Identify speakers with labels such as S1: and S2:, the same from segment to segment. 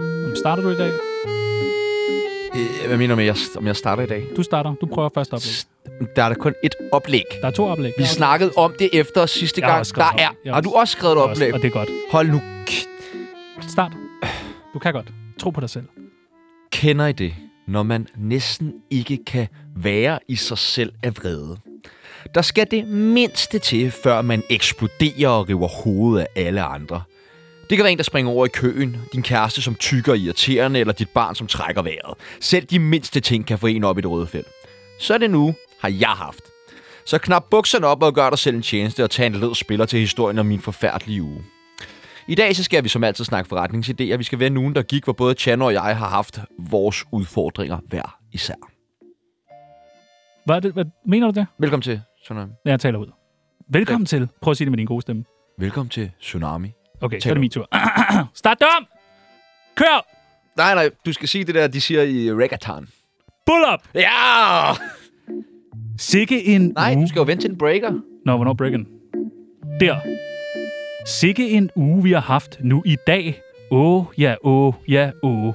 S1: Jamen, Starter du i dag?
S2: Øh, Hvad mener du med, jeg, om jeg starter i dag?
S1: Du starter. Du prøver først oplæg.
S2: Der er da kun et oplæg.
S1: Der er to oplæg.
S2: Vi snakkede om det efter sidste
S1: Jeg har
S2: gang.
S1: også skrevet
S2: Der er...
S1: op. Jeg har
S2: Har du også skrevet et
S1: Også,
S2: oplæg?
S1: og det er godt.
S2: Hold nu. k-
S1: Start. Du kan godt. Tro på dig selv.
S2: Kender I det, når man næsten ikke kan være i sig selv af vrede? Der skal det mindste til, før man eksploderer og river hovedet af alle andre. Det kan være en, der springer over i køen, din kæreste, som tykker irriterende, eller dit barn, som trækker vejret. Selv de mindste ting kan få en op i det røde felt. Så er det nu, har jeg haft. Så knap bukserne op og gør dig selv en tjeneste og tag en led spiller til historien om min forfærdelige uge. I dag så skal vi som altid snakke forretningsidéer. Vi skal være nogen, der gik, hvor både Chano og jeg har haft vores udfordringer hver især.
S1: Hvad, er det, hvad mener du det?
S2: Velkommen til Tsunami.
S1: Ja, Jeg taler ud. Velkommen til. Prøv at sige det med din gode stemme.
S2: Velkommen til Tsunami.
S1: Okay, så
S2: Tal
S1: er det
S2: ud.
S1: min tur. Start dig om! Kør!
S2: Nej, nej, du skal sige det der, de siger i reggaeton.
S1: Bull up!
S2: Ja!
S1: Sikke en
S2: Nej,
S1: uge.
S2: du skal jo vente til en breaker.
S1: Nå, hvornår breaken? Der. Sikke en uge, vi har haft nu i dag. Åh, ja, åh, ja, åh.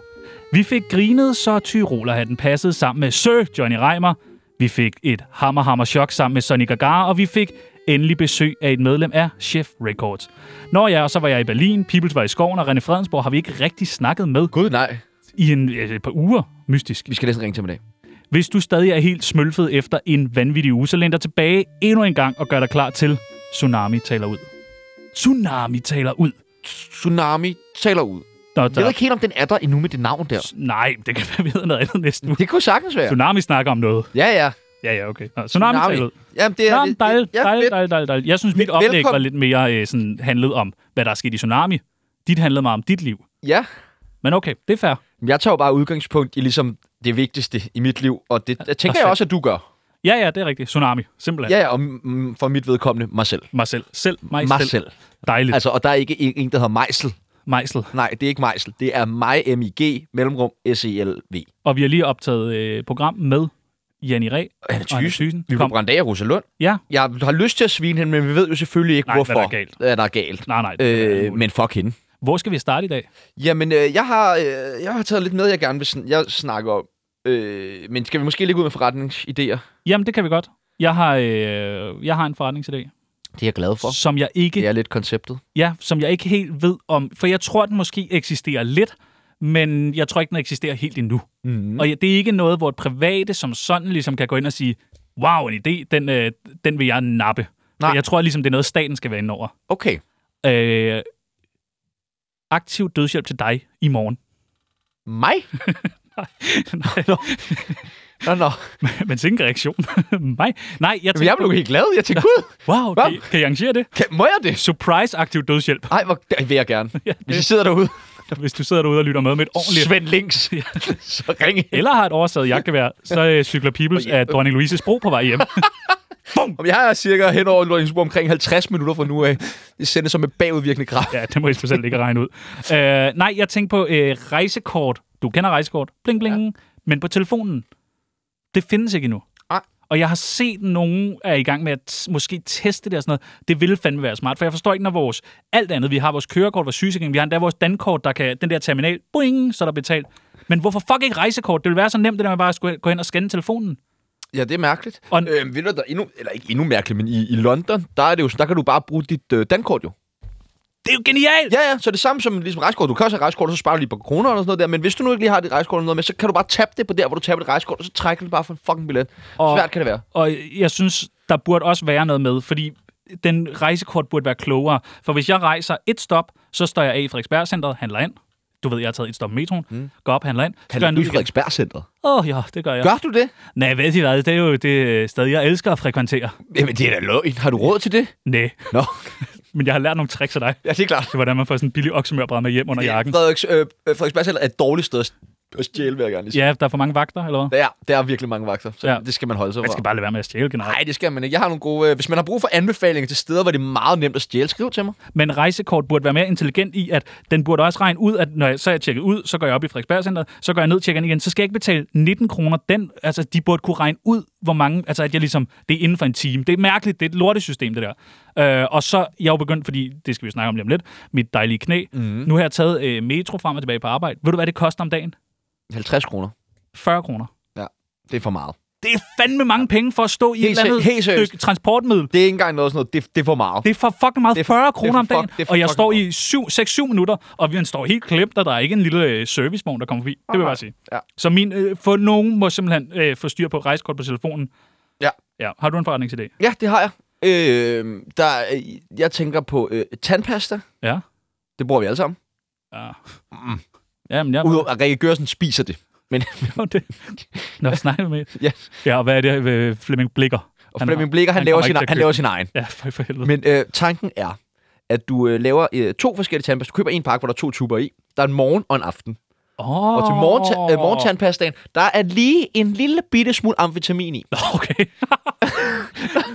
S1: Vi fik grinet, så Tyrolerhatten passede sammen med Sir Johnny Reimer. Vi fik et hammer-hammer-chok sammen med Sonny Gagara, og vi fik endelig besøg af et medlem af Chef Records. Når jeg, og så var jeg i Berlin, Peoples var i skoven, og René Fredensborg har vi ikke rigtig snakket med
S2: Gud, nej.
S1: i en, et par uger, mystisk.
S2: Vi skal næsten ringe til ham i dag.
S1: Hvis du stadig er helt smølfet efter en vanvittig uge, så læn dig tilbage endnu en gang og gør dig klar til Tsunami taler ud. Tsunami taler ud.
S2: Tsunami taler ud.
S1: Nå,
S2: Jeg ved
S1: der,
S2: ikke helt, om den er der endnu med det navn der.
S1: nej, det kan være, vi hedder noget andet næste uge.
S2: Det kunne sagtens være.
S1: Tsunami snakker om noget.
S2: Ja, ja.
S1: Ja, ja, okay. Nå, tsunami, tsunami taler ud.
S2: Jamen, det er...
S1: Nå, men dejligt,
S2: ja,
S1: dejligt,
S2: fedt.
S1: dejligt, dejligt, dejligt. Jeg synes, mit
S2: Velkommen.
S1: oplæg var lidt mere øh, sådan, handlet om, hvad der er sket i Tsunami. Dit handlede meget om dit liv.
S2: Ja.
S1: Men okay, det er fair.
S2: Men Jeg tager jo bare udgangspunkt i ligesom det vigtigste i mit liv, og det jeg tænker jeg
S1: selv.
S2: også, at du gør.
S1: Ja, ja, det er rigtigt. Tsunami, simpelthen.
S2: Ja, ja, og mm, for mit vedkommende, mig selv.
S1: Mig selv. Selv. Mig,
S2: Mig
S1: selv.
S2: selv.
S1: Dejligt. Altså,
S2: Altså, og der er ikke en, en der hedder Mejsel.
S1: Mejsel.
S2: Nej, det er ikke Mejsel. Det er mig, M-I-G, mellemrum, E S-E-L-V.
S1: Og vi har lige optaget øh, program med Janni Ræ
S2: Og han er
S1: og Anna
S2: tysen.
S1: Thysen.
S2: Vi
S1: Kom.
S2: blev brændt af i Rosalund.
S1: Ja.
S2: Jeg har lyst til at svine hende, men vi ved jo selvfølgelig ikke,
S1: Nej, hvad
S2: hvorfor
S1: der er galt.
S2: Hvad der er galt.
S1: Nej, nej. det er
S2: Øh,
S1: umuligt.
S2: men fuck hende.
S1: Hvor skal vi starte i dag?
S2: Jamen, øh, jeg, har, øh, jeg har taget lidt med, jeg gerne vil sn- jeg snakke om. Øh, men skal vi måske ligge ud med forretningsidéer?
S1: Jamen, det kan vi godt. Jeg har, øh, jeg har en forretningsidé,
S2: Det er jeg glad for.
S1: som jeg ikke,
S2: Det
S1: ja.
S2: er lidt konceptet.
S1: Ja, som jeg ikke helt ved om. For jeg tror, den måske eksisterer lidt, men jeg tror ikke, den eksisterer helt endnu.
S2: Mm.
S1: Mm. Og ja, det er ikke noget, hvor et private som sådan ligesom kan gå ind og sige, wow, en idé, den, øh, den vil jeg nappe. Nej.
S2: Nej.
S1: For jeg tror ligesom, det er noget, staten skal være inde over.
S2: Okay.
S1: Øh, aktiv dødshjælp til dig i morgen.
S2: Mig?
S1: Nej,
S2: Nå, nå.
S1: men sikke en reaktion. Nej, nej, jeg
S2: Jamen,
S1: tænkte,
S2: jeg blev helt glad. Jeg tænkte, gud,
S1: wow,
S2: Hvad?
S1: kan, I- kan I arrangere det?
S2: kan, må jeg det?
S1: Surprise aktiv dødshjælp,
S2: Ej, hvor det vil jeg gerne.
S1: Ja,
S2: Hvis I sidder derude,
S1: hvis du sidder derude og lytter med med et ordentligt...
S2: Svend Links, så ring ind.
S1: Eller har et oversaget jagtgevær, så øh, cykler Peoples af dronning Louises bro på vej hjem.
S2: Om jeg er cirka hen over Lundensburg omkring 50 minutter fra nu af. Det sendes som med bagudvirkende kraft.
S1: Ja, det må I selv ikke regne ud. Øh, nej, jeg tænkte på øh, rejsekort. Du kender rejsekort. Bling, bling. Ja. Men på telefonen. Det findes ikke endnu.
S2: Nej.
S1: Og jeg har set nogen er i gang med at t- måske teste det og sådan noget. Det ville fandme være smart, for jeg forstår ikke, når vores alt andet, vi har vores kørekort, vores sygesikring, vi har endda vores dankort, der kan den der terminal, boing, så er der betalt. Men hvorfor fuck ikke rejsekort? Det ville være så nemt, det der med bare at skulle gå hen og scanne telefonen.
S2: Ja, det er mærkeligt.
S1: Og-
S2: Og... Øh, ved du, der er endnu, eller ikke endnu mærkeligt, men i, i London, der, er det jo, sådan, der kan du bare bruge dit øh, dankort jo.
S1: Det er jo genialt!
S2: Ja, ja, så det samme som ligesom rejskort. Du kan også have rejskort, og så sparer du lige et par kroner eller sådan noget der. Men hvis du nu ikke lige har dit rejskort eller noget med, så kan du bare tabe det på der, hvor du taber dit rejskort, og så trækker du det bare for en fucking billet.
S1: Og-
S2: Og... Svært kan det være.
S1: Og jeg synes, der burde også være noget med, fordi den rejsekort burde være klogere. For hvis jeg rejser et stop, så står jeg af i Frederiksberg Centeret, handler ind. Du ved, jeg har taget et stop med metroen, mm. går op, handler ind.
S2: Kan du i Frederiksberg Center?
S1: Åh, oh, ja, det gør jeg.
S2: Gør du det?
S1: Nej, ved I hvad, det er jo det øh, sted, jeg elsker at frekventere.
S2: Jamen, det er da løgn. Har du råd til det?
S1: Nej,
S2: Nå,
S1: men jeg har lært nogle tricks af dig.
S2: ja, det er klart. øh,
S1: Det er, hvordan man får sådan en billig oksemørbrad med hjem under jakken.
S2: Frederiks, øh, Frederiksberg Center er et dårligt sted at Du har stjæle, vil jeg gerne lige sige.
S1: Ja, der er for mange vagter, eller hvad?
S2: Der, er- der er virkelig mange vagter, så
S1: Ja.
S2: ja. det skal man holde sig
S1: Man
S2: fra.
S1: skal bare lade være med at stjæle generelt.
S2: Nej, det skal man ikke. Jeg har nogle gode... øh, Hvis man har brug for anbefalinger til steder, hvor det er meget nemt at stjæle, skriv til mig.
S1: Men rejsekort burde være mere intelligent i, at den burde også regne ud, at når jeg, så er jeg tjekket ud, så går jeg op i Frederiksbergcenteret, så går jeg ned og tjekker ind igen, så skal jeg ikke betale 19 kroner. Den, altså, de burde kunne regne ud, hvor mange, altså at jeg ligesom, det er inden for en time. Det er mærkeligt, det er et lortesystem, det der. Øh, og så, jeg er jo begyndt, fordi det skal vi snakke om lige om lidt, mit dejlige knæ.
S2: Mhm.
S1: Mm. Nu har jeg taget øh, metro frem og tilbage på arbejde. Ved du, hvad det koster om dagen?
S2: 50 kroner.
S1: 40 kroner.
S2: Det er for meget.
S1: Det er fandme mange penge for at stå i
S2: Helt
S1: et eller
S2: se-
S1: andet
S2: helt seriøst.
S1: stykke transportmiddel.
S2: Det er ikke engang noget sådan noget. Det, det er for meget.
S1: Det er for fucking meget.
S2: Det er
S1: 40
S2: for-
S1: kroner om
S2: det er for
S1: dagen,
S2: fuck- det er for
S1: og jeg
S2: fucking
S1: står i 7-6-7 minutter, og vi står helt klemt, og der er ikke en lille øh, servicevogn, der kommer forbi. Det vil jeg bare sige.
S2: Ja.
S1: Så min, øh, for nogen må simpelthen øh, få styr på rejsekort på telefonen.
S2: Ja.
S1: ja. Har du en forretningsidé?
S2: Ja, det har jeg. Øh, der, er- jeg tænker på øh, tandpasta.
S1: Ja.
S2: Det bruger vi alle sammen.
S1: Ja.
S2: Mm.
S1: Ja, men jeg
S2: Udover at Rikke Gørsen spiser det. Men
S1: har det. Nå, snak med.
S2: Ja.
S1: ja, og hvad er det, øh, Flemming blikker?
S2: og
S1: Han-
S2: Flemming Blikker, han,
S1: han
S2: laver,
S1: kommer
S2: sin,
S1: ikke til at
S2: han laver sin egen.
S1: Ja, for, for helvede.
S2: Men øh, tanken er, at du øh, laver øh, to forskellige tandpasta. Du køber en pakke, hvor der er to tuber i. Der er en morgen og en aften.
S1: oh.
S2: Og til morgen, øh, morgentandpastaen, der er lige en lille bitte smule amfetamin i.
S1: Okay.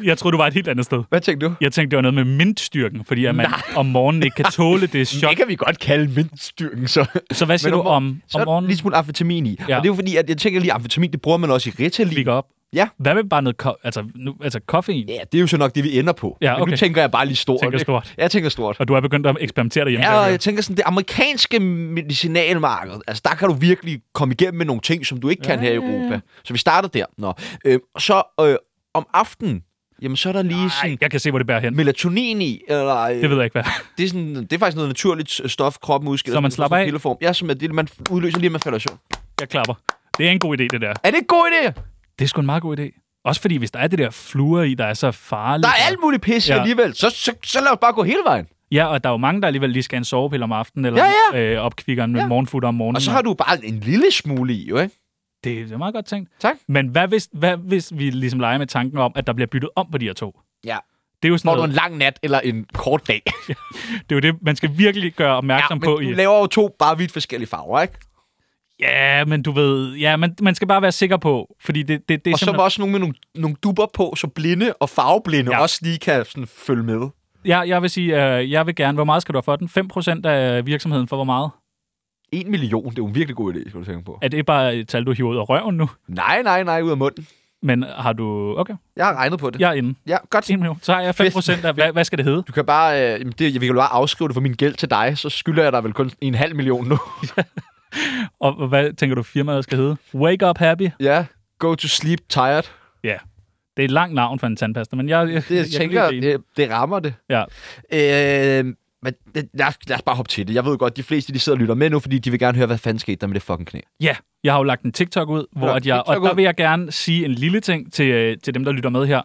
S1: jeg tror du var et helt andet sted.
S2: Hvad tænker du?
S1: Jeg tænkte, det var noget med mintstyrken, fordi at man om morgenen ikke kan tåle det chok.
S2: Det kan vi godt kalde mindstyrken, så.
S1: Så hvad siger
S2: Men
S1: du
S2: om mor-
S1: Ligesom om,
S2: Så
S1: om
S2: er der
S1: morgenen?
S2: en lille smule amfetamin i.
S1: Ja.
S2: Ja. Og det er jo fordi, at jeg tænker lige, amfetamin, det bruger man også i Ritalin.
S1: ligger op.
S2: Ja.
S1: Hvad med bare noget ko- altså, nu, altså koffein?
S2: Ja, det er jo så nok det, vi ender på.
S1: Ja,
S2: Men
S1: okay.
S2: nu tænker jeg bare lige stort.
S1: Tænker stort.
S2: Jeg tænker stort.
S1: Og du er begyndt at eksperimentere derhjemme.
S2: Ja,
S1: kan jeg
S2: og
S1: høre.
S2: jeg tænker sådan, det amerikanske medicinalmarked, altså der kan du virkelig komme igennem med nogle ting, som du ikke kan her i Europa. Så vi starter der. Nå. Øh, så øh, om aftenen, jamen så er der lige
S1: Ej,
S2: sådan
S1: jeg kan se, hvor det bærer hen.
S2: melatonin i, eller øh,
S1: Det ved jeg ikke, hvad.
S2: det, er sådan, det er faktisk noget naturligt stof, kroppen udskiller.
S1: Så man
S2: sådan-
S1: slapper
S2: sådan
S1: af?
S2: en Pilleform. Ja, som er det, man udløser lige, at man falder i søvn.
S1: Jeg klapper. Det er en god idé, det der.
S2: Er det en god idé?
S1: Det er sgu en meget god idé. Også fordi, hvis der er det der fluer i, der er så farligt.
S2: Der er alt muligt pis
S1: Ja.
S2: ja. alligevel. Så, så, så lad os bare gå hele vejen.
S1: Ja, og der er jo mange, der alligevel lige skal have en sovepille om aftenen, eller
S2: Ja,
S1: Øh, opkvikkeren med ja.
S2: Ja.
S1: morgenfutter om morgenen.
S2: Og så har du bare en lille smule i, jo, ikke?
S1: det, det er meget godt tænkt.
S2: Tak.
S1: Men hvad hvis, hvad hvis vi ligesom leger med tanken om, at der bliver byttet om på de her to?
S2: Ja.
S1: Det er jo sådan
S2: Får du en
S1: noget,
S2: lang nat eller en kort dag.
S1: det er jo det, man skal virkelig gøre opmærksom
S2: men
S1: på.
S2: du
S1: i-
S2: laver jo to bare vidt forskellige farver, ikke?
S1: Ja, men du ved, ja, man, man skal bare være sikker på, fordi det, det, det er
S2: Og så var også nogle med nogle, nogle duber på, så blinde og farveblinde
S1: Ja.
S2: ja. også lige kan sådan følge med.
S1: Jeg, jeg vil sige, øh, jeg vil gerne, hvor meget skal du have for den? 5% af virksomheden for hvor meget?
S2: En million, det er jo en virkelig god idé, skulle du tænke på.
S1: Er det bare et tal, du hiver ud af røven nu?
S2: Nej, nej, nej, ud af munden.
S1: Men har du... Okay,
S2: Jeg har regnet på det. Ja,
S1: jeg er inde.
S2: ja godt.
S1: 1 million. Så har jeg 5% af... Hvad, hvad skal det hedde?
S2: Du kan bare, øh, jamen det, vi kan jo bare afskrive det for min gæld til dig, så skylder jeg dig vel kun en halv million nu.
S1: Og hvad tænker du, firmaet skal hedde? Wake Up Happy?
S2: ja, go to sleep tired.
S1: Ja. Det er et langt navn for en tandpasta, men jeg, jeg,
S2: Det, jeg,
S1: jeg
S2: tænker,
S1: kan lide det.
S2: det, det rammer det.
S1: Ja.
S2: Øh, men det, lad, os, lad os bare hoppe til det. Jeg ved godt, de fleste de sidder og lytter med nu, fordi de vil gerne høre, hvad fanden skete der med det fucking knæ.
S1: Ja, jeg har jo lagt en TikTok ud, hvor
S2: lagt
S1: at jeg, og
S2: TikTok
S1: der
S2: ud.
S1: vil jeg gerne sige en lille ting til, øh, til dem, der lytter med her.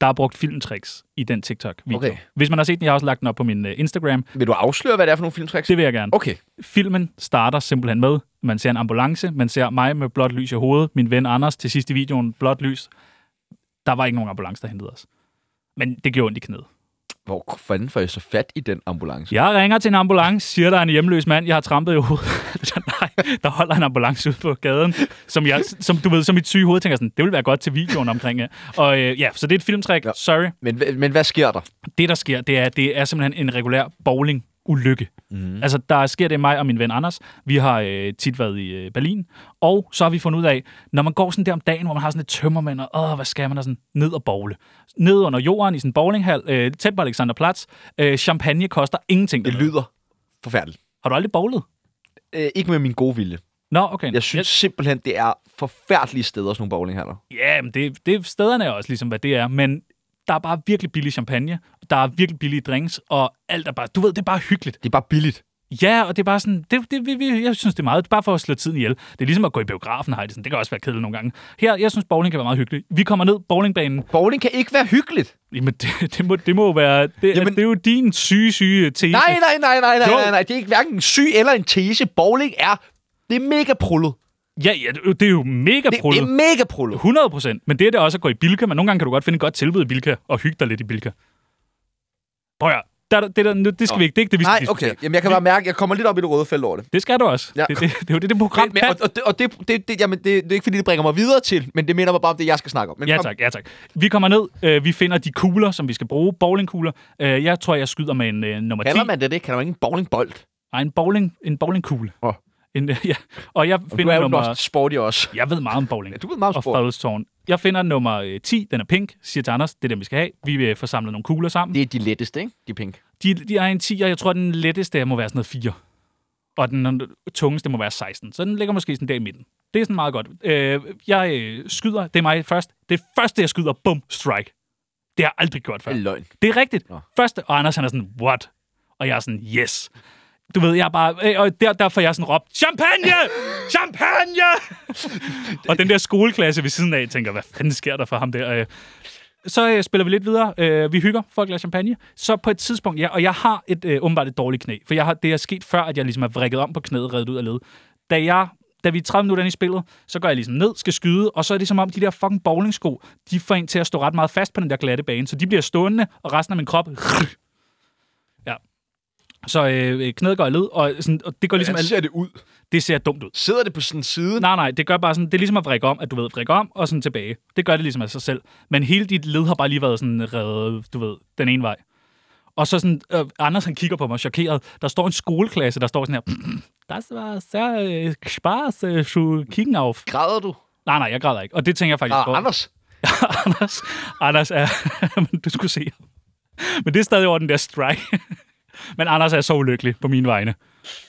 S1: Der er brugt filmtricks i den TikTok-video.
S2: Okay.
S1: Hvis man har set den, jeg har også lagt den op på min øh, Instagram.
S2: Vil du afsløre, hvad det er for nogle filmtricks?
S1: Det vil jeg gerne.
S2: Okay.
S1: Filmen starter simpelthen med, man ser en ambulance, man ser mig med blåt lys i hovedet, min ven Anders til sidst i videoen, blåt lys. Der var ikke nogen ambulance, der hentede os. Men det gjorde ondt i knæet.
S2: Hvor fanden får jeg så fat i den ambulance?
S1: Jeg ringer til en ambulance, siger der er en hjemløs mand, jeg har trampet i hovedet. Så Nej, der holder en ambulance ude på gaden, som, jeg, som du ved, som mit syge hoved tænker sådan, det ville være godt til videoen omkring. øh. Og øh, ja, så det er et filmtræk,
S2: Ja.
S1: sorry.
S2: Men, hva- men hvad sker der?
S1: det, der sker, det er, det er simpelthen en regulær bowling ulykke.
S2: Mhm.
S1: Mm. Altså, der sker det mig og min ven Anders. Vi har øh, tit været i øh, Berlin, og så har vi fundet ud af, når man går sådan der om dagen, hvor man har sådan et tømmermænd, og åh, hvad skal man, og sådan ned og bowle. Ned under jorden i sådan en bowlinghal, øh, tæt på Alexanderplatz. Øh, champagne koster ingenting.
S2: Det
S1: dernede.
S2: lyder forfærdeligt.
S1: Har du aldrig bowlet?
S2: Øh, ikke med min gode vilje.
S1: Nå, okay.
S2: Jeg synes simpelthen, det er forfærdelige steder, sådan nogle bowlinghaller.
S1: Ja, men det, det, stederne er også ligesom, hvad det er, men der er bare virkelig billig champagne, der er virkelig billige drinks, og alt er bare, du ved, det er bare hyggeligt.
S2: Det er bare billigt.
S1: Ja, og det er bare sådan, det, det, vi, vi, jeg synes, det er meget, det er bare for at slå tiden ihjel. Det er ligesom at gå i biografen, Heidi. sådan, Det kan også være kedeligt nogle gange. Her, jeg synes, bowling kan være meget hyggeligt. Vi kommer ned bowlingbanen.
S2: Bowling kan ikke være hyggeligt.
S1: Jamen, det, det, må, det må jo være, det, Jamen,
S2: Jamen-
S1: det er jo din syge, syge tese.
S2: Nej, nej, nej, nej, nej,
S1: Jo.
S2: nej, nej. Det er ikke hverken en syg eller en tese. Bowling er... Det er mega prullet.
S1: Ja, ja, det, det er jo mega
S2: Det, det
S1: prullet.
S2: er mega prullet.
S1: 100 procent. Men det er det også at gå i Bilka, men nogle gange kan du godt finde et godt tilbud i Bilka og hygge dig lidt i Bilka. Prøv at, høre, der, det, der, nu- det skal vi ikke. Det er ikke det, vi skal
S2: Nej,
S1: diskutere.
S2: okay. Jamen, jeg kan bare mærke, jeg kommer lidt op i det røde felt over det.
S1: Det skal du også.
S2: Ja.
S1: Det, det, det, er jo det, det program
S2: Men, men, og, og, det, og det, det, det, jamen, det, det er ikke, fordi det bringer mig videre til, men det minder mig bare om det, jeg skal snakke om. Men
S1: Ja
S2: kom.
S1: tak, ja tak. Vi kommer ned, øh, vi finder de kugler, som vi skal bruge, bowlingkugler. Øh, jeg tror, jeg skyder med en øh, nummer 10.
S2: Kalder man det det? Kalder man ikke en bowlingbold?
S1: Nej, en, bowling, en bowlingkugle.
S2: Åh.
S1: En, øh, ja. Og jeg
S2: Og Du
S1: finder
S2: er jo
S1: nummer...
S2: nok sporty også.
S1: Jeg ved meget om bowling.
S2: Ja, du ved meget om
S1: og
S2: sport.
S1: Fredstårn. Jeg finder nummer øh, 10, den er pink, siger til Anders, det er den, vi skal have. Vi vil få samlet nogle kugler sammen.
S2: Det er de letteste, ikke? De pink.
S1: De, de er en 10, og jeg tror, den letteste må være sådan noget 4. Og den tungeste må være 16. Så den ligger måske sådan der i midten. Det er sådan meget godt. Øh, jeg øh, skyder, det er mig først. Det første, jeg skyder, bum, strike. Det har jeg aldrig gjort
S2: Det
S1: før.
S2: er løgn.
S1: Det er rigtigt.
S2: Nå.
S1: Første, og Anders han er sådan, what? Og jeg er sådan, yes. Du ved, jeg er bare... øh, Og der, der får jeg sådan råbt, champagne! Champagne! og den der skoleklasse ved siden af tænker, hvad fanden sker der for ham der? Øh, Så øh, spiller vi lidt videre. Øh, vi hygger for et glas champagne. Så på et tidspunkt, ja, og jeg har et øh, åbenbart et dårligt knæ. For jeg har, det er sket før, at jeg ligesom har vrikket om på knæet, reddet ud af led. Da jeg da vi er 30 minutter inde i spillet, så går jeg ligesom ned, skal skyde, og så er det som om, de der fucking bowlingsko, de får en til at stå ret meget fast på den der glatte bane, så de bliver stående, og resten af min krop... Ja. Så øh, knæet går i led, og, sådan, og det går ligesom...
S2: Hvordan
S1: al-
S2: ser det ud?
S1: Det ser dumt ud.
S2: Sidder det på sådan en side?
S1: Nej, nej, det gør bare sådan, det er ligesom at vrikke om, at du ved, vrikke om og sådan tilbage. Det gør det ligesom af sig selv. Men hele dit led har bare lige været sådan reddet, du ved, den ene vej. Og så sådan, øh, Anders han kigger på mig chokeret. Der står en skoleklasse, der står sådan her, das war sehr øh, spaß, øh, zu kicken auf.
S2: Græder du?
S1: Nej, nej, jeg græder ikke. Og det tænker jeg faktisk
S2: Græder
S1: over.
S2: Anders?
S1: Anders, Anders er... men du skulle se ham. Men det er stadig over den der strike. men Anders er så ulykkelig på mine vegne.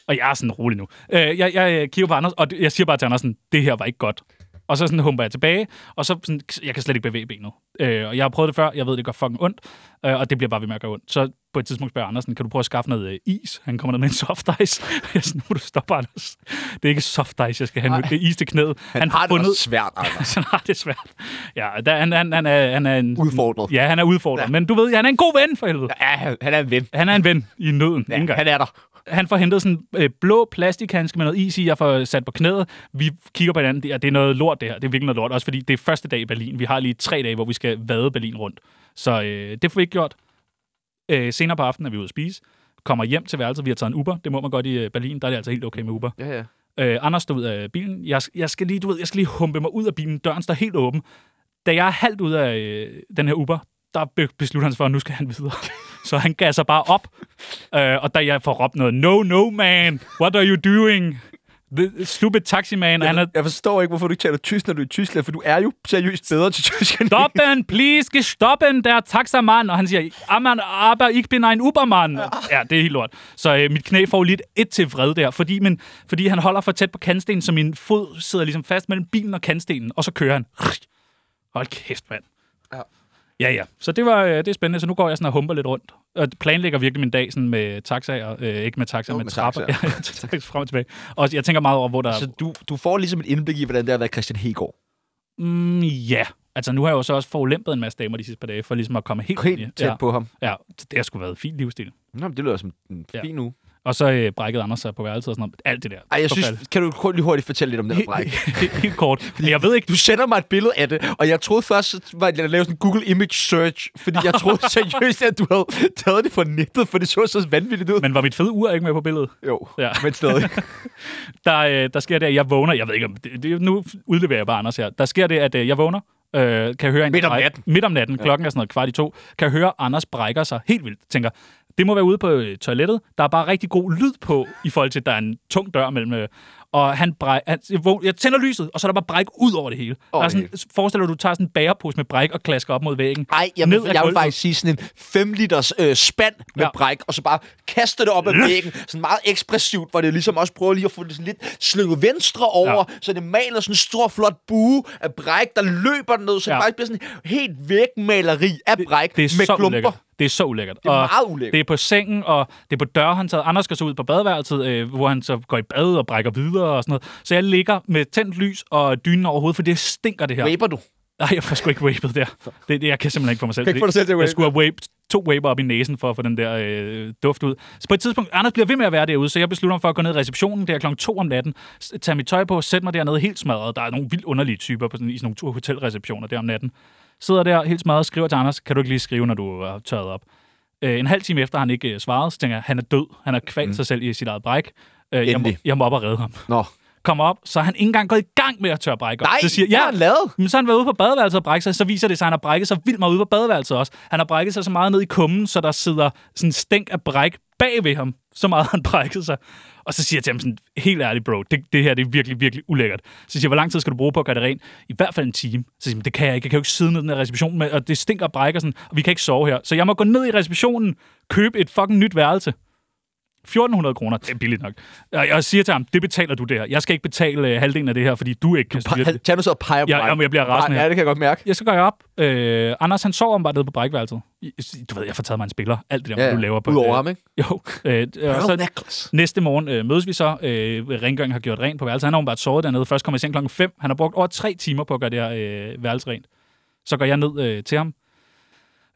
S1: Og jeg er sådan rolig nu. Øh, jeg, jeg øh, kigger på Anders, og det- jeg siger bare til Andersen, det her var ikke godt. Og så sådan humper jeg tilbage, og så sådan, jeg kan slet ikke bevæge benet. Øh, og jeg har prøvet det før, jeg ved, det gør fucking ondt, øh, og det bliver bare ved med at gøre ondt. Så på et tidspunkt spørger jeg Andersen, kan du prøve at skaffe noget øh, is? Han kommer ned med en soft ice. jeg er sådan, nu må du stoppe, Anders. Det er ikke soft ice, jeg skal have nu. Det er is til knæet. Han,
S2: Han har det også svært, Anders.
S1: så nej, det er svært. Ja, der, han, han, han, er, han er en...
S2: Udfordret.
S1: Ja, han er udfordret. Ja. Men du ved, han er en god ven for helvede. Ja.
S2: Ja, han- han er en ven.
S1: Han er en ven i nøden.
S2: Ja,
S1: Ja, han,
S2: han er der.
S1: han får hentet sådan en øh, blå plastikhandske med noget is i, jeg får sat på knæet. Vi kigger på hinanden, det, er- det er noget lort det her. Det er virkelig noget lort, også fordi det er første dag i Berlin. Vi har lige tre dage, hvor vi skal vade Berlin rundt. Så øh, det får vi ikke gjort. Øh, senere på aftenen er vi ude at spise. Kommer hjem til værelset, vi har taget en Uber. Det må man godt i øh, Berlin, der er det altså helt okay med Uber.
S2: Ja, ja.
S1: Øh, Anders stod ud af bilen. Jeg, jeg skal lige, du ved, jeg skal lige humpe mig ud af bilen. Døren står helt åben. Da jeg er halvt ud af øh, den her Uber, der be- beslutter han sig for, at nu skal han videre. Så han gasser bare op. Øh, og da jeg får råbt noget, no, no, man, what are you doing? The stupid taxi man, han er,
S2: Jeg forstår ikke, hvorfor du ikke taler tysk, når du er i Tyskland, for du er jo seriøst bedre til tysk end
S1: Stoppen, please, gestoppen, der taxamann. Og han siger, Aman, aber ich bin ein Ubermann. Ja, det er helt lort. Så øh, mit knæ får lidt et til vred der, fordi, min, fordi han holder for tæt på kantstenen, så min fod sidder ligesom fast mellem bilen og kantstenen, og så kører han. Hold kæft, mand.
S2: Ja.
S1: Ja, ja. Så det var øh, det er spændende. Så nu går jeg sådan og humper lidt rundt. Og planlægger virkelig min dag sådan med taxaer. Øh, ikke med taxaer,
S2: Jo,
S1: men
S2: med
S1: trapper. Ja,
S2: taxaer.
S1: ja, taxaer frem og tilbage. Og jeg tænker meget over, hvor der...
S2: Så du, du får ligesom et indblik i, hvordan det har været Christian Hegård.
S1: Mm, ja. Altså, nu har jeg jo så også forulæmpet en masse damer de sidste par dage, for ligesom at komme helt, ind i-
S2: Helt tæt
S1: ja.
S2: på ham.
S1: Ja, så det har sgu været en fin livsstil.
S2: Nå, men det lyder som en
S1: Ja.
S2: fin uge.
S1: Og så øh, brækkede Anders sig på værelset og sådan noget. Alt det der.
S2: Ej, jeg
S1: Forfærdeligt.
S2: synes, kan du kun lige hurtigt fortælle lidt om den her bræk?
S1: helt, helt kort. Men jeg ved ikke,
S2: Du sender mig et billede af det, og jeg troede først, at jeg lavede sådan en Google Image Search, fordi jeg troede seriøst, at du havde taget det fra nettet, for det så så vanvittigt ud. Men,
S1: men var mit fede ur ikke med på billedet?
S2: jo,
S1: Ja.
S2: ja. men stadig.
S1: Der, øh, der sker det, at jeg vågner. Jeg ved ikke, om det, det, nu udleverer jeg bare Anders her. Der sker det, at øh, jeg vågner. Øh, kan høre en
S2: Midt om
S1: bræk-
S2: natten.
S1: Midt om natten. Klokken er sådan noget kvart i to. Kan høre, Anders brækker sig helt vildt. Tænker, det må være ude på øh, toilettet. Der er bare rigtig god lyd på, i forhold til, at der er en tung dør mellem... Øh, og han, bræk, han jeg, vågn- jeg tænder lyset, og så er der bare bræk ud over det hele.
S2: Over
S1: der er
S2: det
S1: sådan, forestil dig, at du tager sådan en bærepose med bræk og klasker op mod væggen.
S2: Nej, jeg,
S1: Ned
S2: vil,
S1: ad
S2: jeg vil
S1: gulvet.
S2: faktisk sige sådan en 5 liters øh, spand med
S1: Ja.
S2: ja. bræk, og så bare kaste det op ad væggen, sådan meget ekspressivt, hvor det ligesom også prøver lige at få det sådan lidt slynget venstre over, ja. så det maler sådan en stor, flot bue af bræk, der løber ned, så
S1: Ja.
S2: ja. det faktisk bliver sådan helt væk maleri af bræk
S1: Det er
S2: med
S1: så
S2: klumper.
S1: ulækkert. Det er så ulækkert.
S2: Det er
S1: og
S2: meget ulækkert.
S1: Det er på sengen, og det er på dørhåndtaget. Anders skal så ud på badeværelset, øh, hvor han så går i bad og brækker videre og sådan noget. Så jeg ligger med tændt lys og dynen over hovedet, for det stinker det her.
S2: Vaper du?
S1: Nej, jeg får sgu ikke vapet der. Det, det, jeg kan simpelthen ikke få mig selv.
S2: Kan ikke få dig selv til
S1: jeg
S2: at vape.
S1: skulle have vape, to vaper op i næsen for at få den der øh, duft ud. Så på et tidspunkt, Anders bliver ved med at være derude, så jeg beslutter mig for at gå ned i receptionen. Det er klokken 2 om natten. S- Tage mit tøj på, sætte mig dernede helt smadret. Der er nogle vildt underlige typer på sådan, i sådan nogle tur- hotelreceptioner der om natten. Sidder der helt smadret og skriver til Anders, kan du ikke lige skrive, når du er tørret op? Øh, en halv time efter har han ikke øh, svaret, så tænker jeg, han er død. Han har kvalt mm. sig selv i sit eget bræk. Øh, jeg, må,
S2: Endelig.
S1: jeg må op og redde ham.
S2: Nå.
S1: Kommer op, så er han ikke engang gået i gang med at tørre brække op.
S2: Nej,
S1: så siger,
S2: hvad har han lavet?
S1: Men så har han været ude på badeværelset og brækket sig, så viser det sig, at han har brækket sig vildt meget ude på badeværelset også. Han har brækket sig så meget ned i kummen, så der sidder sådan en stænk af bræk bag ved ham. Så meget har han brækket sig. Og så siger jeg til ham sådan, helt ærligt bro, det, det her det er virkelig, virkelig ulækkert. Så siger jeg, hvor lang tid skal du bruge på at gøre det rent? I hvert fald en time. Så siger han, det kan jeg ikke. Jeg kan jo ikke sidde ned i den her reception, med, og det stinker og brækker sådan, og vi kan ikke sove her. Så jeg må gå ned i receptionen, købe et fucking nyt værelse. 1400 kroner, det er billigt nok. Og jeg siger til ham, det betaler du der. Jeg skal ikke betale øh, halvdelen af det her, fordi du ikke kan styre det.
S2: Tag nu så og peger på
S1: Ja,
S2: mig.
S1: jamen, jeg bliver rasende.
S2: Ja, det kan jeg godt mærke.
S1: Jeg skal gøre jer op. Øh, Anders, han sover bare nede på brækværelset. I- Du ved, jeg får taget mig en spiller. Alt det der, ja, du laver på...
S2: Udover ham, ikke?
S1: Øh, jo. Øh, og
S2: Hello,
S1: så
S2: Necklace.
S1: næste morgen øh, mødes vi så. Øh, rengøringen har gjort rent på værelset. Han har bare sovet dernede. Først kommer jeg i seng klokken 5. Han har brugt over tre timer på at gøre det her øh, værelse rent. Så går jeg ned øh, til ham.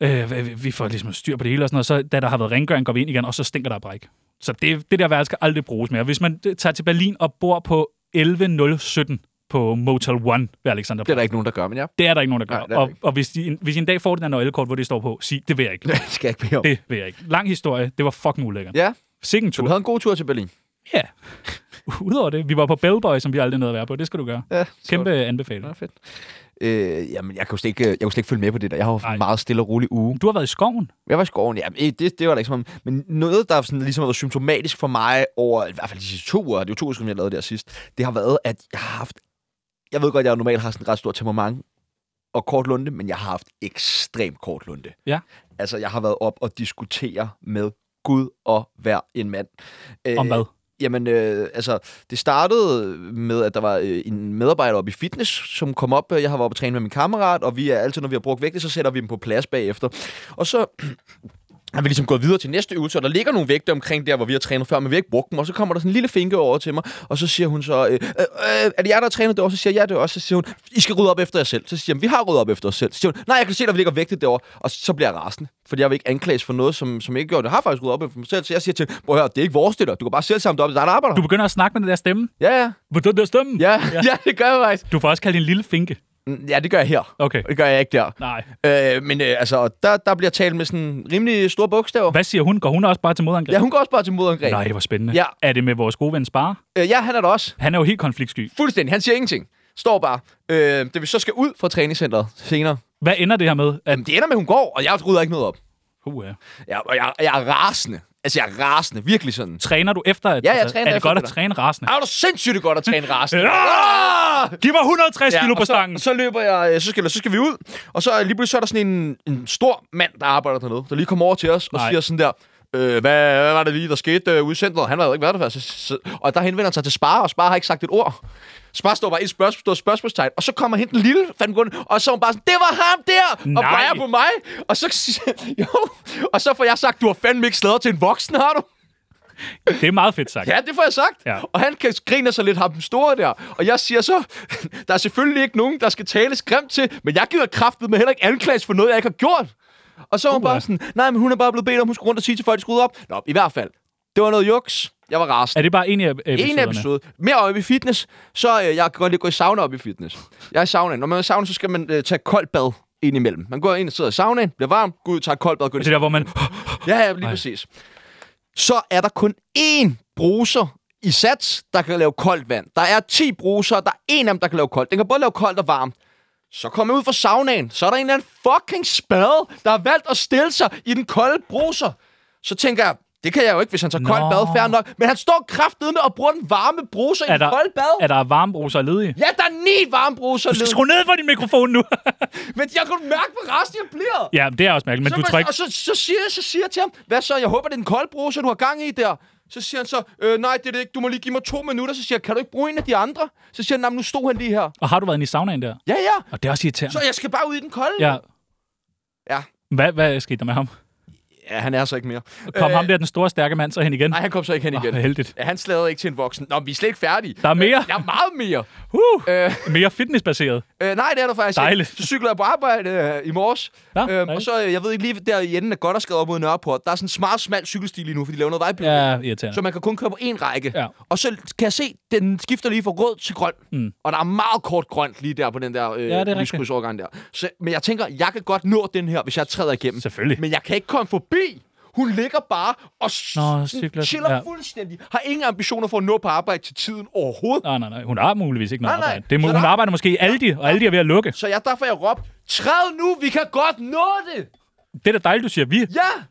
S1: Øh, vi- vi får ligesom styr på det hele og sådan noget. Så da der har været rengøring, går vi ind igen, og så stinker der af bræk. Så det, det der værelse skal aldrig bruges mere. Hvis man øh, tager til Berlin og bor på 11017 på Motel One ved Alexander
S2: Det er der ikke nogen, der gør, men ja.
S1: det er der ikke nogen, der
S2: Nej,
S1: gør.
S2: det
S1: Nej,
S2: er der
S1: og,
S2: ikke.
S1: og hvis, de, en- hvis I en dag får den her nøglekort, hvor det står på, sig, det vil jeg ikke.
S2: Det skal jeg ikke bede om.
S1: Det vil jeg ikke. Lang historie. Det var fucking ulækkert.
S2: Ja,
S1: Sikken
S2: så du
S1: tur.
S2: havde en god tur til Berlin.
S1: Ja. Udover det, vi var på Bellboy, som vi aldrig nåede at være på. Det skal du gøre.
S2: Ja,
S1: Kæmpe
S2: Ja,
S1: anbefaling.
S2: fedt. Øh, jamen, jeg kan, jo slet ikke, jeg kunne slet ikke følge med på det der. Jeg har haft
S1: Nej.
S2: en meget stille og rolig uge.
S1: Du har været i skoven.
S2: Jeg var i skoven, ja, men, øh, det, det var da ikke som om, men noget, der sådan, ligesom har været symptomatisk for mig over, i hvert fald de sidste to uger, det er jo to uger, siden, jeg lavede det her sidst, det har været, at jeg har haft, jeg ved godt, jeg normalt har sådan et ret stort temperament og kort lunde, men jeg har haft ekstremt kort lunde.
S1: Ja.
S2: Altså, jeg har været op og diskutere med Gud og hver en mand. Øh,
S1: Om hvad?
S2: Jamen, øh, altså, det startede med, at der var øh, en medarbejder oppe i fitness, som kom op. Jeg har været oppe og træne med min kammerat, og vi er altid, når vi har brugt vægte, så sætter vi dem på plads bagefter. Og så har vi ligesom gået videre til næste øvelse, og der ligger nogle vægte omkring der, hvor vi har trænet før, men vi har ikke brugt dem. Og så kommer der sådan en lille finke over til mig, og så siger hun så, øh, øh, øh, er det jer, der har trænet derovre? Så siger jeg, ja, det er også. Så siger hun, I skal rydde op efter jer selv. Så siger jeg, vi har ryddet op efter os selv. Så siger hun, nej, jeg kan se, der ligger vægte derovre. Og så bliver jeg rasende, fordi jeg vil ikke anklages for noget, som, som jeg ikke gjorde. Jeg har faktisk ryddet op efter mig selv, så jeg siger til, hende, prøv at høre, det er ikke vores det der. Du kan bare selv samle det op, der er en arbejder.
S1: Du begynder at snakke med den der stemme.
S2: Ja, ja.
S1: Hvor den der stemme?
S2: Ja, ja, det gør jeg faktisk.
S1: Du får også kaldt en lille finke.
S2: Mm, Ja, det gør jeg her.
S1: Okay.
S2: Det gør jeg ikke der.
S1: Nej.
S2: Øh, men øh, altså, der, der bliver talt med sådan rimelig store bogstaver.
S1: Hvad siger hun? Går hun også bare til modangreb?
S2: Ja, hun går også bare til modangreb.
S1: Nej, hvor spændende.
S2: Ja.
S1: Er det med vores gode ven Spar?
S2: Øh, ja, han er der også.
S1: Han er jo helt konfliktsky.
S2: Fuldstændig. Han siger ingenting. Står bare. Øh, det vi så skal ud fra træningscenteret senere.
S1: Hvad ender det her med? At...
S2: Jamen, det ender med, at hun går, og jeg rydder ikke noget op.
S1: Uh, ja.
S2: Jeg, og jeg, jeg er rasende. Altså, jeg er rasende. Virkelig sådan.
S1: Træner du efter? At,
S2: Ja, jeg
S1: altså,
S2: træner
S1: Er det
S2: efter Ah,
S1: godt
S2: det
S1: at
S2: der.
S1: træne rasende?
S2: Ej, hvor er du sindssygt det er godt at træne rasende. Ah!
S1: Giv mig 160 kilo på
S2: og så,
S1: stangen.
S2: og så løber jeg, øh, så skal, så skal vi ud, og så øh, lige pludselig så er der sådan en, en stor mand, der arbejder dernede, der lige kommer over til os og
S1: Nej.
S2: siger sådan der, øh, hvad, hvad var det lige, der skete øh, ude i centret? Han var jo ikke været der før. Så, så, og der henvender han sig til Spar, og Spar har ikke sagt et ord. Spar står bare et spørgsmål, står spørgsmålstegn, og så kommer hende den lille fandme og så er hun bare sådan, det var ham der,
S1: Nej.
S2: og peger på mig. Og så, siger- jo, og så får jeg sagt, du har fandme ikke slæder til en voksen, har du?
S1: Det er meget fedt sagt.
S2: Ja, det får jeg sagt.
S1: Ja.
S2: Ja. Og han kan- griner sig lidt ham den store der. Og jeg siger så, der er selvfølgelig ikke nogen, der skal tales grimt til, men jeg gider kraftet med heller ikke anklages for noget, jeg ikke har gjort. Og så var hun bare sådan, nej, men hun er bare blevet bedt om, hun skulle rundt og sige til folk, at de skulle rydde op. Nå, i hvert fald. Det var noget juks. Jeg var rasende.
S1: Er det bare en af
S2: En
S1: episoderne?
S2: episode. Mere oppe i fitness, så øh, jeg kan godt lide at gå i sauna op i fitness. Jeg er i saunaen. Når man er i sauna, så skal man øh, tage koldt bad indimellem. Man går ind og sidder i saunaen, bliver varm, går ud, tager et koldt bad, går ind
S1: Det er Altså, der, hvor man...
S2: Ja, ja, lige Ej. præcis. Så er der kun én bruser i sats, der kan lave koldt vand. Der er 10 bruser, der er en af dem, der kan lave koldt. Den kan både lave koldt og varmt. Så kommer jeg ud fra saunaen, så er der en eller anden fucking spade, der har valgt at stille sig i den kolde bruser. Så tænker jeg, det kan jeg jo ikke, hvis han tager koldt
S1: Nå.
S2: bad, fair nok. Men han står kraftedeme og bruger den varme bruser i
S1: Er
S2: den
S1: der,
S2: kolde bad.
S1: er der varmebruser ledige?
S2: Ja, der er ni varme bruser,
S1: Du skal
S2: nede.
S1: skrue ned for din mikrofon nu.
S2: men jeg kunne mærke, hvor resten jeg bliver.
S1: ja, det er også mærkeligt, men
S2: så,
S1: du
S2: man-
S1: tror ikke...
S2: Og så, så, siger jeg, så siger jeg til ham, hvad så, jeg håber, det er en kold bruser, du har gang i der. Så siger han så, øh, nej, det er det ikke, du må lige give mig to minutter. Så siger jeg, kan du ikke bruge en af de andre? Så siger han, nej, men nu stod han lige her.
S1: Og har du været inde i saunaen der?
S2: Ja, ja,
S1: Og det er også irriterende.
S2: så jeg skal bare ud i den kolde.
S1: Ja.
S2: Ja.
S1: Hvad, hvad skete der med ham?
S2: ja han er så ikke mere.
S1: Kom
S2: Øh,
S1: ham der, den store, stærke mand, så hen igen?
S2: Nej, han kom så ikke hen
S1: Åh,
S2: igen.
S1: heldigt.
S2: Ja, han slagede ikke til en voksen. Nå, men vi er slet ikke færdige.
S1: Der er mere.
S2: Jeg er meget mere.
S1: Uh,
S2: Øh,
S1: mere fitnessbaseret.
S2: Øh, nej, det er der faktisk ikke.
S1: Dejligt.
S2: Så cykler jeg på arbejde øh, i morges.
S1: Nå,
S2: øhm, og
S1: dejligt.
S2: så, øh, jeg ved ikke, lige der i enden af Goddersgade op mod Nørreport, der er sådan en smart, smal cykelsti lige nu, fordi de laver noget vejbyggeri.
S1: Ja, irriterende.
S2: Så man kan kun køre på én række.
S1: Ja.
S2: Og så kan jeg se, den skifter lige fra rød til grøn.
S1: Mm.
S2: Og der er meget kort grønt lige der på den der øh,
S1: Ja, det er rigtigt.
S2: lyskryds der. Så, men jeg tænker, jeg kan godt nå den her, hvis jeg træder igennem.
S1: Selvfølgelig.
S2: Men jeg kan ikke komme forbi. Hun ligger bare og s-
S1: Nå, cykler.
S2: chiller
S1: Ja.
S2: ja. fuldstændig. Har ingen ambitioner for at nå på arbejde til tiden overhovedet.
S1: Nej, nej, nej. Hun har muligvis ikke noget
S2: Nej, nej.
S1: arbejde. Det må,
S2: Så
S1: hun
S2: der-
S1: arbejder måske i Aldi, og Aldi er ved at lukke.
S2: Så jeg, derfor jeg råbte, træd nu, vi kan godt nå det!
S1: Det er da dejligt, du siger vi.
S2: Ja!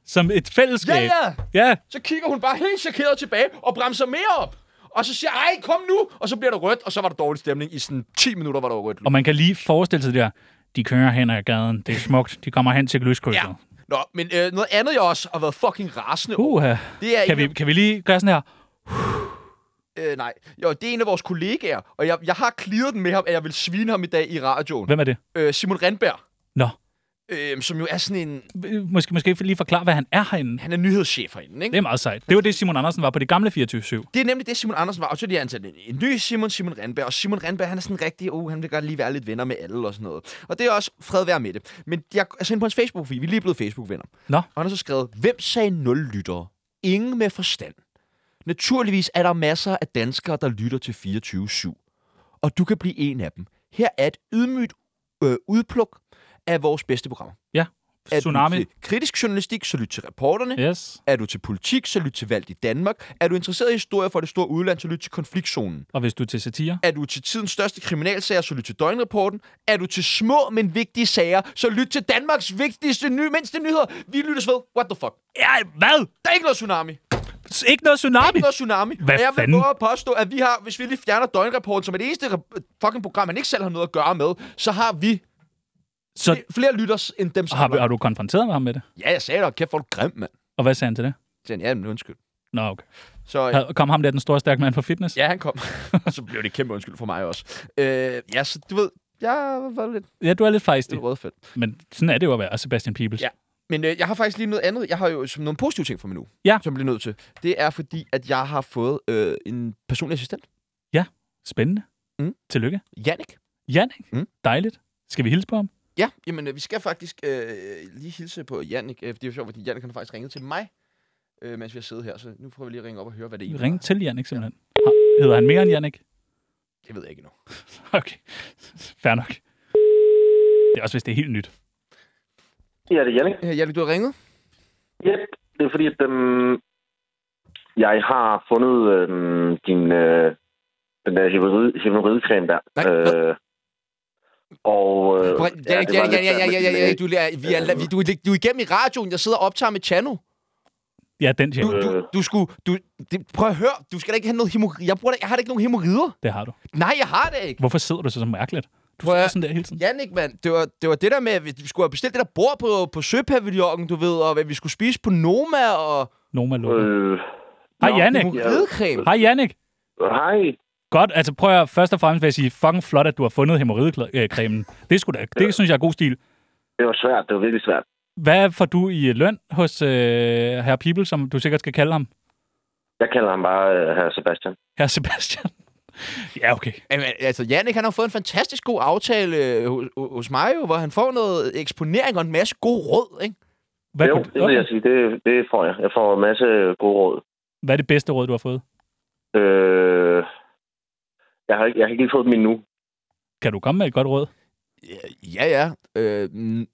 S1: Som et fællesskab.
S2: Ja, ja.
S1: Ja,
S2: Så kigger hun bare helt chokeret tilbage og bremser mere op. Og så siger jeg, ej, kom nu! Og så bliver det rødt, og så var der dårlig stemning. I sådan 10 minutter var der rødt.
S1: og man kan lige forestille sig det der. De kører hen ad gaden. Det er smukt. De kommer hen til lyskrydset.
S2: Ja. Nå, men øh, noget andet, jeg også har været fucking rasende over,
S1: Uh,
S2: det
S1: kan,
S2: er... en af-
S1: vi, kan vi lige gøre sådan her?
S2: Øh, nej, jo, det er en af vores kollegaer, og jeg, jeg har clearet den med ham, at jeg vil svine ham i dag i radioen.
S1: Hvem er det?
S2: Øh, Simon Renberg,
S1: Nå. øh,
S2: øh, som jo er sådan en...
S1: Måske, måske lige forklare, hvad han er herinde.
S2: Han er nyhedschef herinde, ikke?
S1: Det er meget sejt. Det var det, Simon Andersen var på det gamle 24-7.
S2: Det er nemlig det, Simon Andersen var, og så er de ansat en, en ny Simon, Simon Renberg. Og Simon Renberg, han er sådan rigtig, oh, han vil godt lige være lidt venner med alle og sådan noget. Og det er også fred være med det. Men jeg er altså inde på hans Facebook-profil, vi er lige blevet Facebook-venner.
S1: Nå.
S2: Og han har så skrevet, hvem sagde nul lyttere? Ingen med forstand. Naturligvis er der masser af danskere, der lytter til 24-7. Og du kan blive en af dem. Her er et ydmygt øh, udpluk af vores bedste programmer. Er
S1: Tsunami.
S2: du til kritisk journalistik, så lyt til reporterne.
S1: Yes.
S2: Er du til politik, så lyt til valg i Danmark. Er du interesseret i historier fra det store udland, så lyt til konfliktzonen.
S1: Og hvis du er til satire?
S2: Er du til tidens største kriminalsager, så lyt til døgnrapporten. Er du til små, men vigtige sager, så lyt til Danmarks vigtigste, ny, mindste nyheder. Vi lyttes ved. What the fuck?
S1: Ja, hvad?
S2: Der er ikke noget tsunami. Der
S1: Ikke noget
S2: er
S1: tsunami?
S2: ikke noget tsunami.
S1: Hvad
S2: og jeg vil
S1: fanden?
S2: våge at påstå, at vi har, hvis vi lige fjerner døgnrapporten som et eneste rep- fucking program, man ikke selv har noget at gøre med, så har vi
S1: Så
S2: flere lytters end dem, som
S1: har, har du konfronteret ham med det?
S2: Ja, jeg sagde det, og kæft, folk grim, mand.
S1: Og hvad sagde han til det?
S2: Så sagde han, ja, men undskyld.
S1: Nå, okay.
S2: Så, øh,
S1: Havde- Kom ham der, den store stærke mand for fitness?
S2: Ja, han kom. Og så blev det kæmpe undskyld for mig også. Øh, ja, så du ved, jeg var lidt,
S1: Ja, du er lidt fejstig.
S2: lidt rødfældt.
S1: Men sådan er det jo at være Sebastian Peebles.
S2: Ja. Men øh, jeg har faktisk lige noget andet. Jeg har jo som nogle positive ting for mig nu,
S1: Ja.
S2: som jeg bliver nødt til. Det er fordi, at jeg har fået øh, en personlig assistent.
S1: Spændende.
S2: Mm.
S1: Tillykke.
S2: Jannik.
S1: Jannik,
S2: Mm.
S1: dejligt. Skal vi hilse på ham?
S2: Ja, jamen øh, vi skal faktisk øh, lige hilse på Jannik. Øh, det er jo sjovt, fordi Jannik han har faktisk ringet til mig, øh, mens vi har siddet her. Så nu prøver vi lige at ringe op og høre, hvad det
S1: Vi
S2: egentlig
S1: ringer til Jannik simpelthen. Har- Hedder han mere end Jannik?
S2: var. Det ved jeg ikke endnu.
S1: Okay, fair nok. Det er også, hvis det er helt nyt.
S3: Ja, det er Jannik.
S2: Øh, Jannik, du har ringet?
S3: Ja, det er fordi, at øhm, jeg har fundet øhm, din, øh, den der hemorrhoid- hemorrhoidecreme der.
S2: Nej,
S3: øh, og... Øh,
S2: Prøv,
S3: ja,
S2: Jannik, Jannik, Jannik,
S3: det var lidt svært
S2: Jannik,
S3: med
S2: Jannik,
S3: din
S2: Jannik,
S3: læge.
S2: du, er- vi er- vi- du, er- du er igennem i radioen. Jeg sidder og optager med Chano.
S1: Ja, den tjener.
S2: Du, du, du skulle... Du, det, prøv at høre, du skal da ikke have noget hemorrider. Jeg, bruger da, jeg har da ikke nogen hemorrider.
S1: Det har du.
S2: Nej, jeg har det ikke.
S1: Hvorfor sidder du så så mærkeligt? Du
S2: Prøv at-
S1: sidder sådan der hele tiden.
S2: Jannik, mand, det var, det var det der med, at vi skulle have bestilt det der bord på, på Søpavillonen, du ved, og hvad vi skulle spise på Noma og
S1: Noma lukker.
S3: Øh,
S1: Hej,
S3: nå,
S1: Jannik.
S2: hemorridecreme.
S1: Hej, Jannik.
S3: Hej.
S1: Godt, altså prøv at først og fremmest vil jeg sige, fucking flot, at du har fundet hemorridecremen. Det, skulle da, det synes jeg er god stil.
S3: Det var svært. Det var virkelig svært.
S1: Hvad får du i løn hos øh, herr People, som du sikkert skal kalde ham?
S3: Jeg kalder ham bare øh, herr Sebastian.
S1: Herr Sebastian? ja, okay.
S2: Jamen, altså, Jannik, han har fået en fantastisk god aftale øh, hos, hos mig, jo, hvor han får noget eksponering og en masse god råd, ikke?
S1: Hvad,
S3: jo,
S1: kunne
S3: det
S1: du,
S3: vil jeg
S1: okay.
S3: sige. Det, det får jeg. Jeg får en masse gode råd.
S1: Hvad er det bedste råd, du har fået?
S3: Øh, jeg, har ikke, jeg har ikke lige fået dem endnu.
S1: Kan du komme med et godt råd?
S2: Ja, ja. Øh, mm,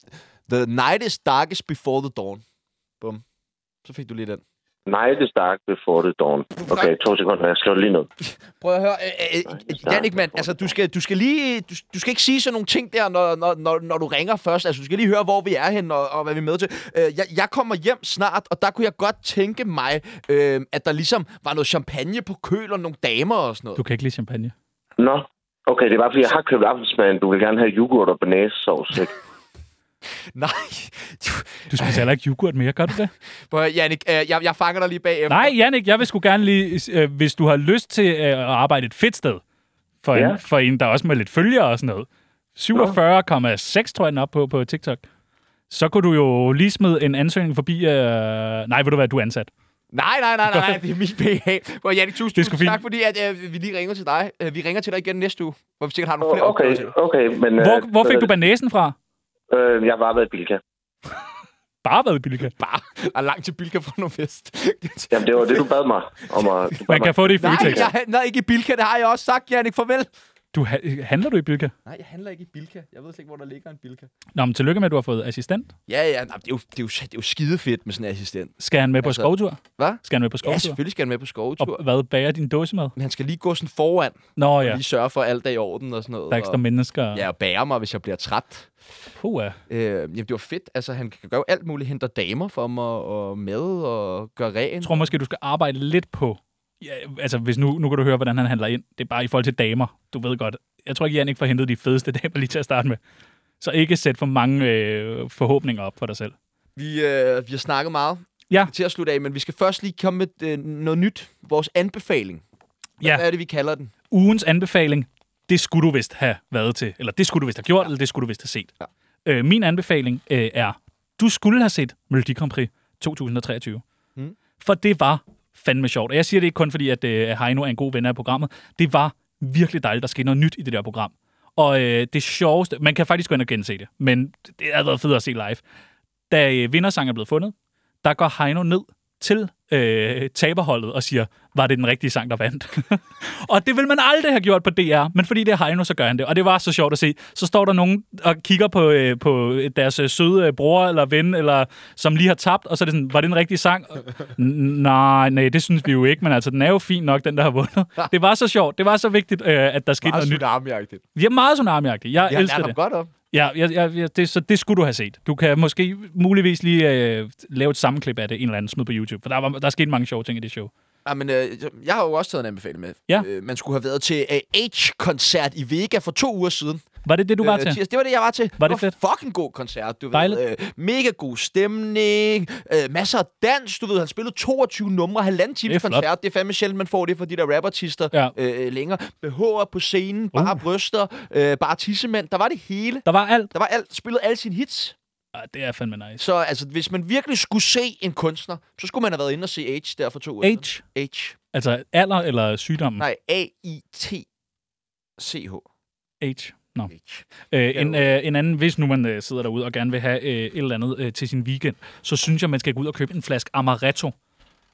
S2: the night is darkest before the dawn. Bum. Så fik du lige den.
S3: Nej, det er stærkt before the dawn. Okay, to sekunder. Jeg slår det lige ned.
S2: Prøv at høre, øh, øh, øh, Jannik, mand, altså, du skal, du, skal lige, du, du skal ikke sige sådan nogle ting der, når, når, når, når du ringer først. Altså, du skal lige høre, hvor vi er hen og, og hvad vi er med til. Øh, jeg, jeg kommer hjem snart, og der kunne jeg godt tænke mig, øh, at der ligesom var noget champagne på køl og nogle damer og sådan noget.
S1: Du kan ikke lide champagne.
S3: Nå, okay, det er bare fordi, jeg har købt aftensmad. Du vil gerne have yoghurt og banæssovs, ikke?
S2: Nej,
S1: Du spiser heller ikke yoghurt mere, gør du det?
S2: Prøv at høre, Jannik, øh, jeg, jeg fanger dig lige bagefter.
S1: Nej, Jannik, jeg vil sgu gerne lige, øh, hvis du har lyst til øh, at arbejde et fedt sted, for, ja.
S3: Ja.
S1: en, for en, der også med lidt følgere og sådan noget. 47,6 tror jeg den er op på, på TikTok. Så kunne du jo lige smide en ansøgning forbi... Øh... Nej, ved du hvad, du er ansat.
S2: Nej, nej, nej, nej, nej, det er min PA. Prøv at Jannik, tusind,
S1: Det er sgu
S2: tusind
S1: fint.
S2: tak, fordi at, øh, vi lige ringer til dig. Øh, vi ringer til dig igen næste uge, hvor vi sikkert har nogle flere
S3: Okay,
S2: opgaver til.
S3: okay, men...
S1: Hvor, hvor fik du banæsen fra?
S3: Øh, jeg har bare været i Bilka.
S1: Bare været i Bilka.
S2: Bare er langt til Bilka for noget fest.
S3: Jamen, det var det, du bad mig om at... Du bad
S1: Man kan
S3: mig.
S1: få det i
S2: Nej,
S1: Føtex.
S2: jeg, nej, ikke i Bilka, det har jeg også sagt, Jannik. Farvel.
S1: Du, ha- handler du i Bilka?
S4: Nej, jeg handler ikke i Bilka. Jeg ved slet ikke, hvor der ligger en Bilka.
S1: Nå, men tillykke med, at du har fået assistent.
S2: Ja, ja, nej, det, er jo, det, er jo, det er jo skidefedt med sådan en assistent.
S1: Skal han med på
S2: Altså,
S1: skovtur?
S2: Hvad?
S1: Skal han med på
S2: Ja,
S1: skovtur?
S2: selvfølgelig skal han med på skovtur.
S1: og hvad bager din dåsemad?
S2: Men han skal lige gå sådan foran,
S1: Nå ja,
S2: ja. lige sørge for at alt er i orden og sådan noget.
S1: der er ekstra
S2: og,
S1: mennesker.
S2: ja, og bære mig, hvis jeg bliver træt.
S1: Puh, ja.
S2: Øh, jamen, det var fedt. Altså, han kan gøre alt muligt. Henter damer for mig og med og gøre
S1: Jeg
S2: rent.
S1: tror måske, du skal arbejde lidt på... Ja, altså, hvis nu, nu kan du høre, hvordan han handler ind. Det er bare i forhold til damer. Du ved godt. Jeg tror ikke, Jannik får hentet de fedeste damer lige til at starte med. Så ikke sæt for mange øh, forhåbninger op for dig selv.
S2: Vi, øh, vi har snakket meget
S1: Ja.
S2: til at slutte af, men vi skal først lige komme med øh, noget nyt. Vores anbefaling. Hvad
S1: Ja.
S2: er det, vi kalder den?
S1: Ugens anbefaling, det skulle du vist have været til. Eller det skulle du vist have gjort, ja. eller det skulle du vist have set.
S2: Ja.
S1: Øh, min anbefaling øh, er, du skulle have set Melodi Grand Prix 2023.
S2: Mm.
S1: For det var fandme sjovt. Og jeg siger det ikke kun fordi, at øh, Heino er en god ven af programmet. Det var virkelig dejligt, der skete noget nyt i det der program. Og øh, det sjoveste, man kan faktisk gå ind og gense det, men det havde været fedt at se live. Da øh, vindersang er blevet fundet, der går Heino ned til øh, taberholdet og siger, var det den rigtige sang, der vandt? og det vil man aldrig have gjort på DR, men fordi det er Heino, så gør han det. Og det var så sjovt at se. Så står der nogen og kigger på, øh, på deres øh, søde øh, bror eller ven, eller, som lige har tabt, og så er det sådan, var det den rigtige sang? N- nej, nej, det synes vi jo ikke, men altså, den er jo fin nok, den der har vundet. Det var så sjovt. Det var så vigtigt, øh, at der skete noget nyt.
S2: tsunami-agtigt.
S1: Vi er meget tsunami Jeg
S2: Jeg har
S1: elsker
S2: lært
S1: det.
S2: ham godt op.
S1: Ja, ja, ja, ja det, så det skulle du have set. Du kan måske muligvis lige øh, lave et sammenklip af det, en eller anden smid på YouTube, for der, var, der er sket mange sjove ting i det show.
S2: Ja, men, øh, jeg- jeg har jo også taget en anbefaling med.
S1: Ja.
S2: Øh, man skulle have været til øh, H-koncert i Vega for to uger siden.
S1: Var det det, du var
S2: Øh,
S1: til?
S2: tirsdag. Det var det, jeg var til.
S1: Var det fedt?
S2: fucking god koncert, du
S1: Dejligt.
S2: ved. Øh, mega god stemning, øh, masser af dans, du ved. Han spillede 22 numre, halvanden
S1: Det er
S2: times
S1: flot.
S2: koncert. Det er fandme sjældent, man får det fra de der rapartister
S1: Ja.
S2: øh, længere. BH'er på
S1: Uh.
S2: scenen, bare bryster, øh, bare tissemænd. Der var det hele.
S1: Der var alt.
S2: Der var alt, spillede alle sine hits.
S1: Ah, det er fandme nice.
S2: Så altså, hvis man virkelig skulle se en kunstner, så skulle man have været inde og se H der for to uger
S1: H,
S2: siden. H.
S1: altså alder eller sygdommen?
S2: Nej, A-I-T-C-H.
S1: H. Nå.
S2: H.
S1: Øh, en, øh, en anden, hvis nu man øh, sidder derude og gerne vil have øh, et eller andet øh, til sin weekend, så synes jeg, man skal gå ud og købe en flaske Amaretto.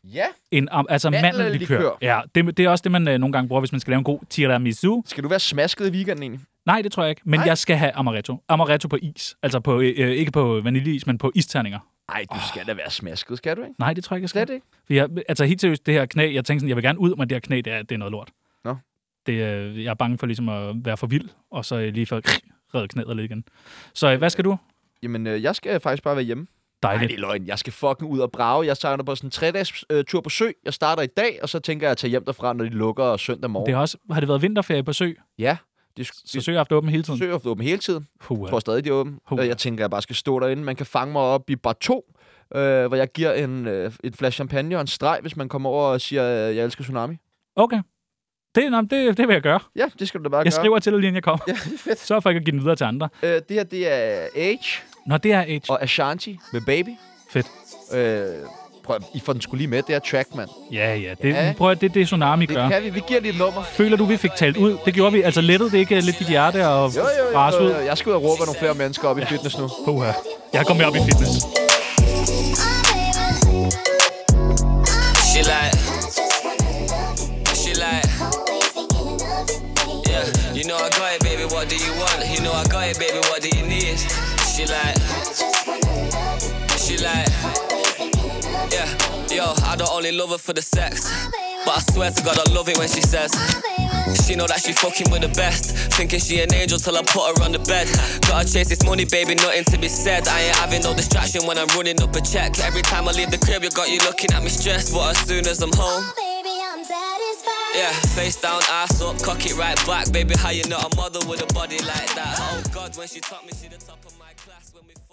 S2: Ja.
S1: En, am, altså
S2: Mandellikør.
S1: mandellikør. Ja, det, det er også det, man øh, nogle gange bruger, hvis man skal lave en god tiramisu.
S2: Skal du være smasket i weekenden egentlig?
S1: Nej, det tror jeg ikke. Men
S2: Nej.
S1: Nej. jeg skal have amaretto. Amaretto på is. Altså på, øh, ikke på vaniljeis, men på isterninger.
S2: Nej, du skal da være smasket, skal du ikke?
S1: Nej, det tror jeg ikke, jeg skal.
S2: Slet ikke.
S1: For jeg, altså helt seriøst, det her knæ, jeg tænkte sådan, jeg vil gerne ud, men det her knæ, det er, det er noget lort.
S2: Nå.
S1: Det, øh, jeg er bange for ligesom at være for vild, og så øh, lige for redde knæet lidt igen. Så øh, hvad skal du?
S2: Jamen, øh, jeg skal faktisk bare være hjemme. Nej,
S1: Dejligt.
S2: det er løgn. Jeg skal fucking ud og brage. Jeg starter på sådan en tre-dages øh, tur på sø. Jeg starter i dag, og så tænker jeg at tage hjem derfra, når de lukker søndag morgen.
S1: Det
S2: Det
S1: har, også, har det været vinterferie på sø?
S2: Ja, det er
S1: Så sø har haft åben hele tiden?
S2: sø er åben hele tiden.
S1: Puh,
S2: Jeg tror stadig, det er åben.
S1: Huh.
S2: Og jeg tænker, jeg bare skal stå derinde. Man kan fange mig op i bar 2, øh, hvor jeg giver en, øh, et flaske champagne og en streg, hvis man kommer over og siger, øh, jeg elsker tsunami.
S1: Okay. Det, nå, det, det vil jeg gøre.
S2: Ja, det skal du da bare
S1: Jeg
S2: gøre.
S1: skriver til dig, lige inden jeg kommer.
S2: Ja, det er fedt.
S1: Så for ikke at give den videre til andre.
S2: Øh, det her, det er Age
S1: Nå, det er H.
S2: og Ashanti med Baby.
S1: Fedt.
S2: Øh, prøv, at- I får den skulle lige med. Det er track, mand.
S1: Ja, ja. Det,
S2: Ja.
S1: ja. Prøv at det er det, Tsunami
S2: Det
S1: gør.
S2: kan vi. Vi giver lige et nummer.
S1: Føler du, vi fik talt ud? Det gjorde vi. Altså lettede det ikke øh, lidt dit hjerte og
S2: Jo, jo,
S1: bras
S2: jo,
S1: ud?
S2: jo, jo. Jeg skal ud og råbe nogle flere mennesker op i fitness nu.
S1: Puha. Jeg kom med op i fitness.
S5: She like, she like, yeah. You know I got it, baby. What do you want? You know I got it, baby. What do you need? She like, she like, yeah. Yo, I don't only love her for the sex, but I swear to God I love it when she says. She know that she fucking with the best. Thinking she an angel till I put her on the bed. Gotta chase this money, baby, nothing to be said. I ain't having no distraction when I'm running up a check. Every time I leave the crib, you got you looking at me stressed. But as soon as I'm home, yeah, face down, ass up, cock it right back. Baby, how you not a mother with a body like that? Oh God, when she taught me, she the top of my class. When we.